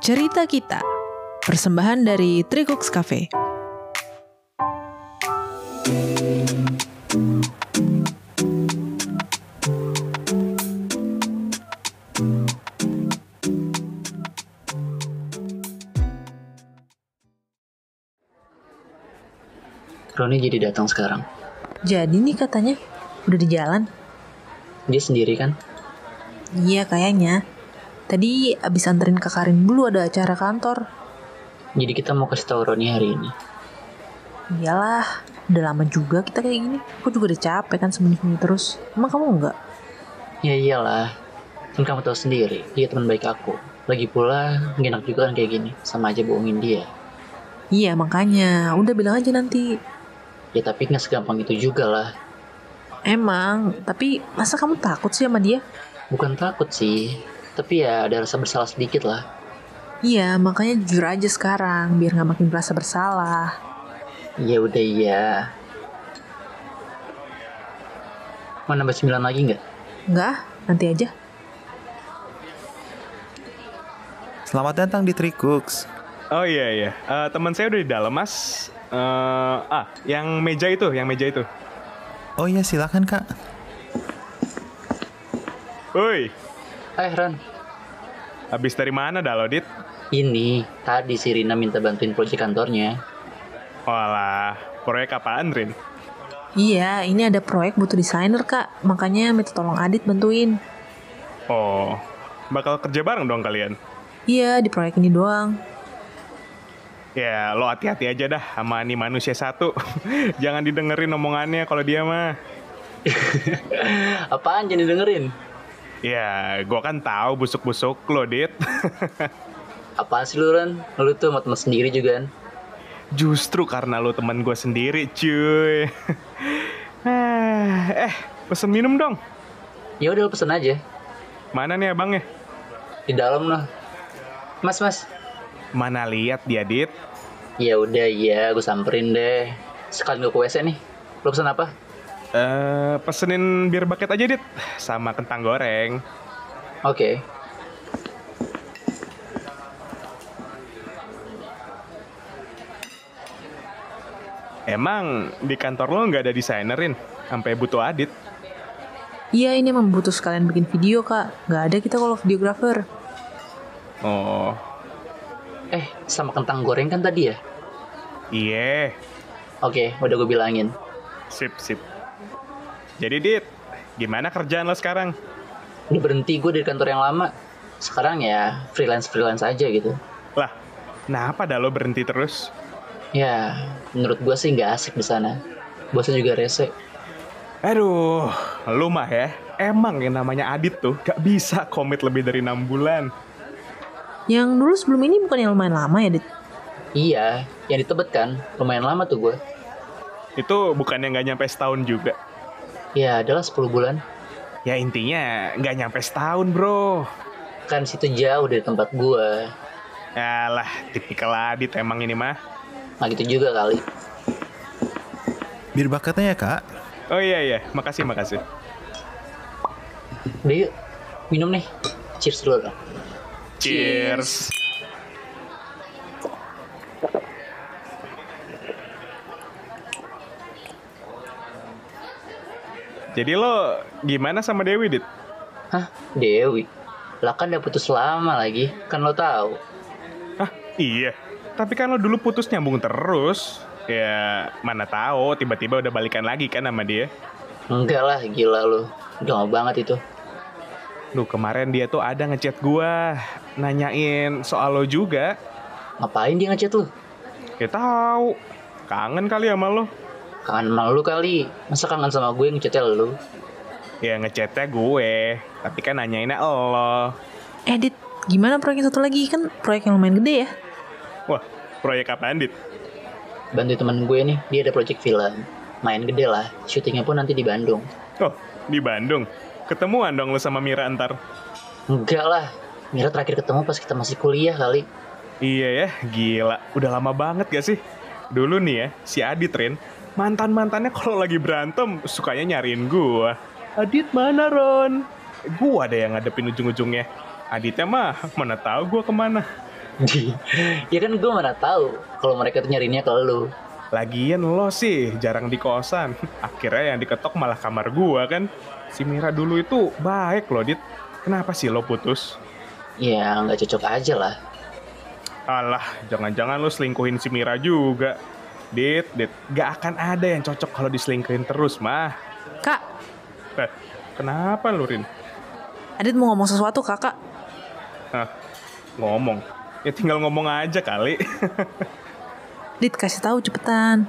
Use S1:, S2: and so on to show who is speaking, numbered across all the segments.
S1: Cerita Kita. Persembahan dari Tricox Cafe.
S2: Roni jadi datang sekarang.
S3: Jadi nih katanya udah di jalan.
S2: Dia sendiri kan?
S3: Iya kayaknya. Tadi abis anterin ke Karin dulu ada acara kantor.
S2: Jadi kita mau kasih tahu Roni hari ini.
S3: Iyalah, udah lama juga kita kayak gini. Aku juga udah capek kan sembunyi-sembunyi terus. Emang kamu enggak?
S2: Ya iyalah. Kan kamu tahu sendiri, dia teman baik aku. Lagi pula, nggak enak juga kan kayak gini. Sama aja bohongin dia.
S3: Iya makanya, udah bilang aja nanti.
S2: Ya tapi nggak segampang itu juga lah.
S3: Emang, tapi masa kamu takut sih sama dia?
S2: Bukan takut sih, tapi ya ada rasa bersalah sedikit lah.
S3: Iya, makanya jujur aja sekarang, biar nggak makin merasa bersalah.
S2: Ya udah iya. Mau nambah 9 lagi nggak?
S3: Enggak, nanti aja.
S4: Selamat datang di Tricooks.
S5: Oh iya iya, Eh, teman saya udah di dalam mas. Eh, ah, yang meja itu, yang meja itu.
S4: Oh iya silakan kak.
S5: Woi,
S2: Eh Ran,
S5: habis dari mana dah lo, Dit?
S2: ini tadi si Rina minta bantuin proyek kantornya.
S5: Walah, proyek apaan Rin?
S3: Iya, ini ada proyek butuh desainer, Kak. Makanya minta tolong Adit bantuin.
S5: Oh, bakal kerja bareng dong kalian.
S3: Iya, di proyek ini doang.
S5: Ya lo hati-hati aja dah sama nih manusia satu. Jangan didengerin omongannya kalau dia mah.
S2: Apaan jadi dengerin?
S5: Ya, gua kan tahu busuk-busuk lo, Dit.
S2: Apaan sih lu Ran? Lu tuh sama teman sendiri juga kan?
S5: Justru karena lo teman gue sendiri, cuy. eh, pesen minum dong.
S2: Ya udah lu pesen aja.
S5: Mana nih abangnya?
S2: Di dalam noh. Mas, mas.
S5: Mana lihat dia, Dit.
S2: Ya udah ya, gue samperin deh. Sekalian gue ke WC nih. Lu pesen apa?
S5: Eh, pesenin bir bucket aja, Dit. Sama kentang goreng.
S2: Oke.
S5: Emang di kantor lo nggak ada desainerin? Sampai butuh adit.
S3: Iya, ini emang butuh sekalian bikin video, Kak. Nggak ada kita kalau videographer.
S5: Oh,
S2: Eh, sama kentang goreng kan tadi ya?
S5: iya.
S2: Oke, udah gue bilangin.
S5: Sip, sip. Jadi, Dit, gimana kerjaan lo sekarang?
S2: Udah berhenti gue dari kantor yang lama. Sekarang ya freelance-freelance aja gitu.
S5: Lah, kenapa dah lo berhenti terus?
S2: Ya, menurut gue sih nggak asik di sana. Bosnya juga rese.
S5: Aduh, lo mah ya. Emang yang namanya Adit tuh gak bisa komit lebih dari enam bulan.
S3: Yang dulu sebelum ini bukan yang lumayan lama ya, Dit?
S2: Iya, yang ditebet kan. Lumayan lama tuh gue.
S5: Itu bukannya nggak nyampe setahun juga.
S2: Ya, adalah 10 bulan.
S5: Ya intinya nggak nyampe setahun bro.
S2: Kan situ jauh dari tempat gue.
S5: Alah, tipikal Adit emang ini mah.
S2: Nah gitu juga kali.
S4: Bir bucketnya ya kak.
S5: Oh iya iya, makasih makasih.
S2: Udah yuk, minum nih. Cheers dulu dong.
S5: Cheers. Jadi lo gimana sama Dewi, Dit?
S2: Hah, Dewi? Lah kan udah putus lama lagi, kan lo tahu.
S5: Hah, iya. Tapi kan lo dulu putus nyambung terus. Ya, mana tahu tiba-tiba udah balikan lagi kan sama dia.
S2: Enggak lah, gila lo. Udah lama banget itu.
S5: Lu kemarin dia tuh ada ngechat gua nanyain soal lo juga.
S2: Ngapain dia ngechat lo?
S5: Ya tahu. Kangen kali sama lo.
S2: Kangen sama lo kali. Masa kangen sama gue ngechatnya lo?
S5: Ya ngechatnya gue, tapi kan nanyainnya lo.
S3: Eh, Dit, gimana proyek yang satu lagi? Kan proyek yang lumayan gede ya?
S5: Wah, proyek apaan, Dit?
S2: Bantu teman gue nih, dia ada project film. Main gede lah, syutingnya pun nanti di Bandung.
S5: Oh, di Bandung. Ketemuan dong lo sama Mira antar.
S2: Enggak lah, Mira terakhir ketemu pas kita masih kuliah kali.
S5: Iya ya, gila. Udah lama banget gak sih? Dulu nih ya, si Adit Rin, mantan-mantannya kalau lagi berantem sukanya nyariin gua. Adit mana Ron? Gua ada yang ngadepin ujung-ujungnya. Aditnya mah mana tahu gua kemana.
S2: ya kan gue mana tahu kalau mereka tuh nyarinya ke lu.
S5: Lagian lo sih jarang di kosan. Akhirnya yang diketok malah kamar gua kan. Si Mira dulu itu baik loh, Dit. Kenapa sih lo putus?
S2: Ya nggak cocok aja lah.
S5: Alah, jangan-jangan lo selingkuhin si Mira juga. Dit, Dit, gak akan ada yang cocok kalau diselingkuhin terus, mah.
S3: Kak,
S5: Eh, kenapa lo, Rin?
S3: Adit mau ngomong sesuatu kakak.
S5: Hah, ngomong. Ya tinggal ngomong aja kali.
S3: Dit kasih tahu cepetan.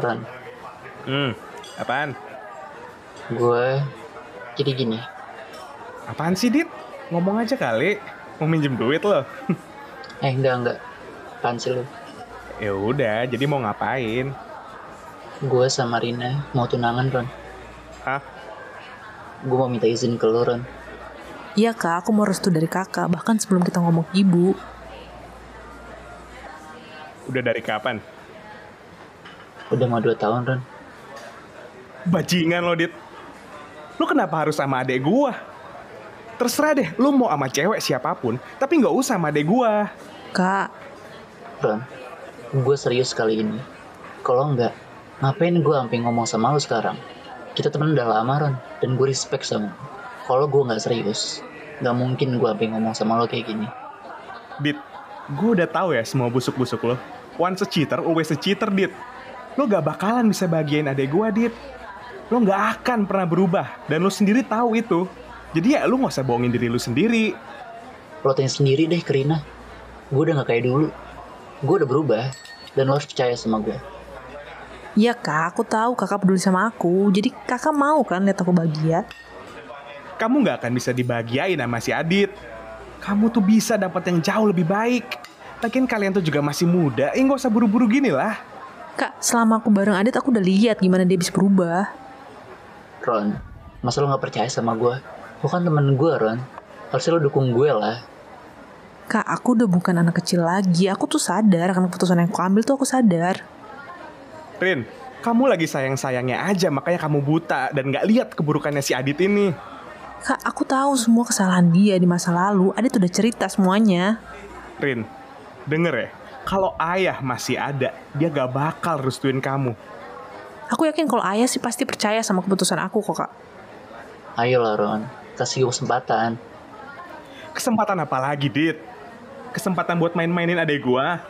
S2: Ron,
S5: hmm, apaan?
S2: gue jadi gini.
S5: Apaan sih, Dit? Ngomong aja kali. Mau minjem duit lo?
S2: Eh enggak enggak. Apaan sih lu?
S5: ya udah, jadi mau ngapain?
S2: Gue sama Rina mau tunangan Ron.
S5: Hah?
S2: Gue mau minta izin ke lu Ron.
S3: Iya kak, aku mau restu dari kakak. Bahkan sebelum kita ngomong ke ibu.
S5: Udah dari kapan?
S2: Udah mau 2 tahun Ron.
S5: Bajingan lo, Dit. Lu kenapa harus sama adek gua? Terserah deh, lu mau sama cewek siapapun, tapi nggak usah sama adek gua.
S3: Kak,
S2: Ron, gue serius kali ini. Kalau enggak, ngapain gue sampai ngomong sama lu sekarang? Kita temen udah lama, Ron, dan gue respect sama lu. Kalau gue nggak serius, nggak mungkin gue sampai ngomong sama lo kayak gini.
S5: Dit, gua udah tahu ya semua busuk-busuk lo. Once a cheater, always a cheater, Dit. Lo gak bakalan bisa bagiain adek gua, Dit. Lo gak akan pernah berubah, dan lo sendiri tahu itu. Jadi ya lu gak usah bohongin diri lu sendiri.
S2: Lo tanya sendiri deh, Kerina. Gue udah nggak kayak dulu. Gue udah berubah, dan lo harus percaya sama gue.
S3: iya kak, aku tahu kakak peduli sama aku. Jadi kakak mau kan lihat aku bahagia?
S5: Kamu gak akan bisa dibahagiain sama si Adit. Kamu tuh bisa dapat yang jauh lebih baik. Lagian kalian tuh juga masih muda, ya gak usah buru-buru gini lah.
S3: Kak, selama aku bareng Adit aku udah lihat gimana dia bisa berubah.
S2: Ron, masa lo nggak percaya sama gue? Lo kan temen gue, Ron. Harusnya lo dukung gue lah.
S3: Kak, aku udah bukan anak kecil lagi. Aku tuh sadar karena keputusan yang aku ambil tuh aku sadar.
S5: Rin, kamu lagi sayang-sayangnya aja makanya kamu buta dan gak lihat keburukannya si Adit ini.
S3: Kak, aku tahu semua kesalahan dia di masa lalu. Adit udah cerita semuanya.
S5: Rin, denger ya, kalau ayah masih ada, dia gak bakal restuin kamu.
S3: Aku yakin kalau ayah sih pasti percaya sama keputusan aku kok, Kak.
S2: Ayolah, Ron. Kasih gue kesempatan.
S5: Kesempatan apa lagi, Dit? Kesempatan buat main-mainin adek gua.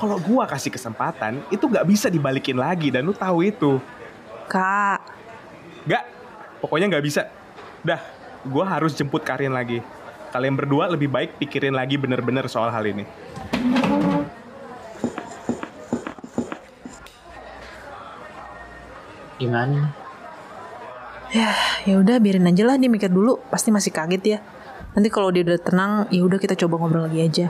S5: Kalau gua kasih kesempatan, itu gak bisa dibalikin lagi dan lu tahu itu.
S3: Kak,
S5: Gak, pokoknya gak bisa. Dah, gua harus jemput Karin lagi. Kalian berdua lebih baik pikirin lagi bener-bener soal hal ini.
S2: Gimana?
S3: ya udah biarin aja lah dia mikir dulu. Pasti masih kaget ya. Nanti kalau dia udah tenang, ya udah kita coba ngobrol lagi aja.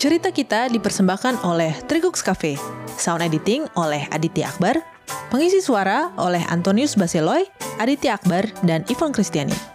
S1: Cerita kita dipersembahkan oleh Trigux Cafe, sound editing oleh Aditya Akbar, pengisi suara oleh Antonius Baseloy, Aditya Akbar, dan Ivan Kristiani.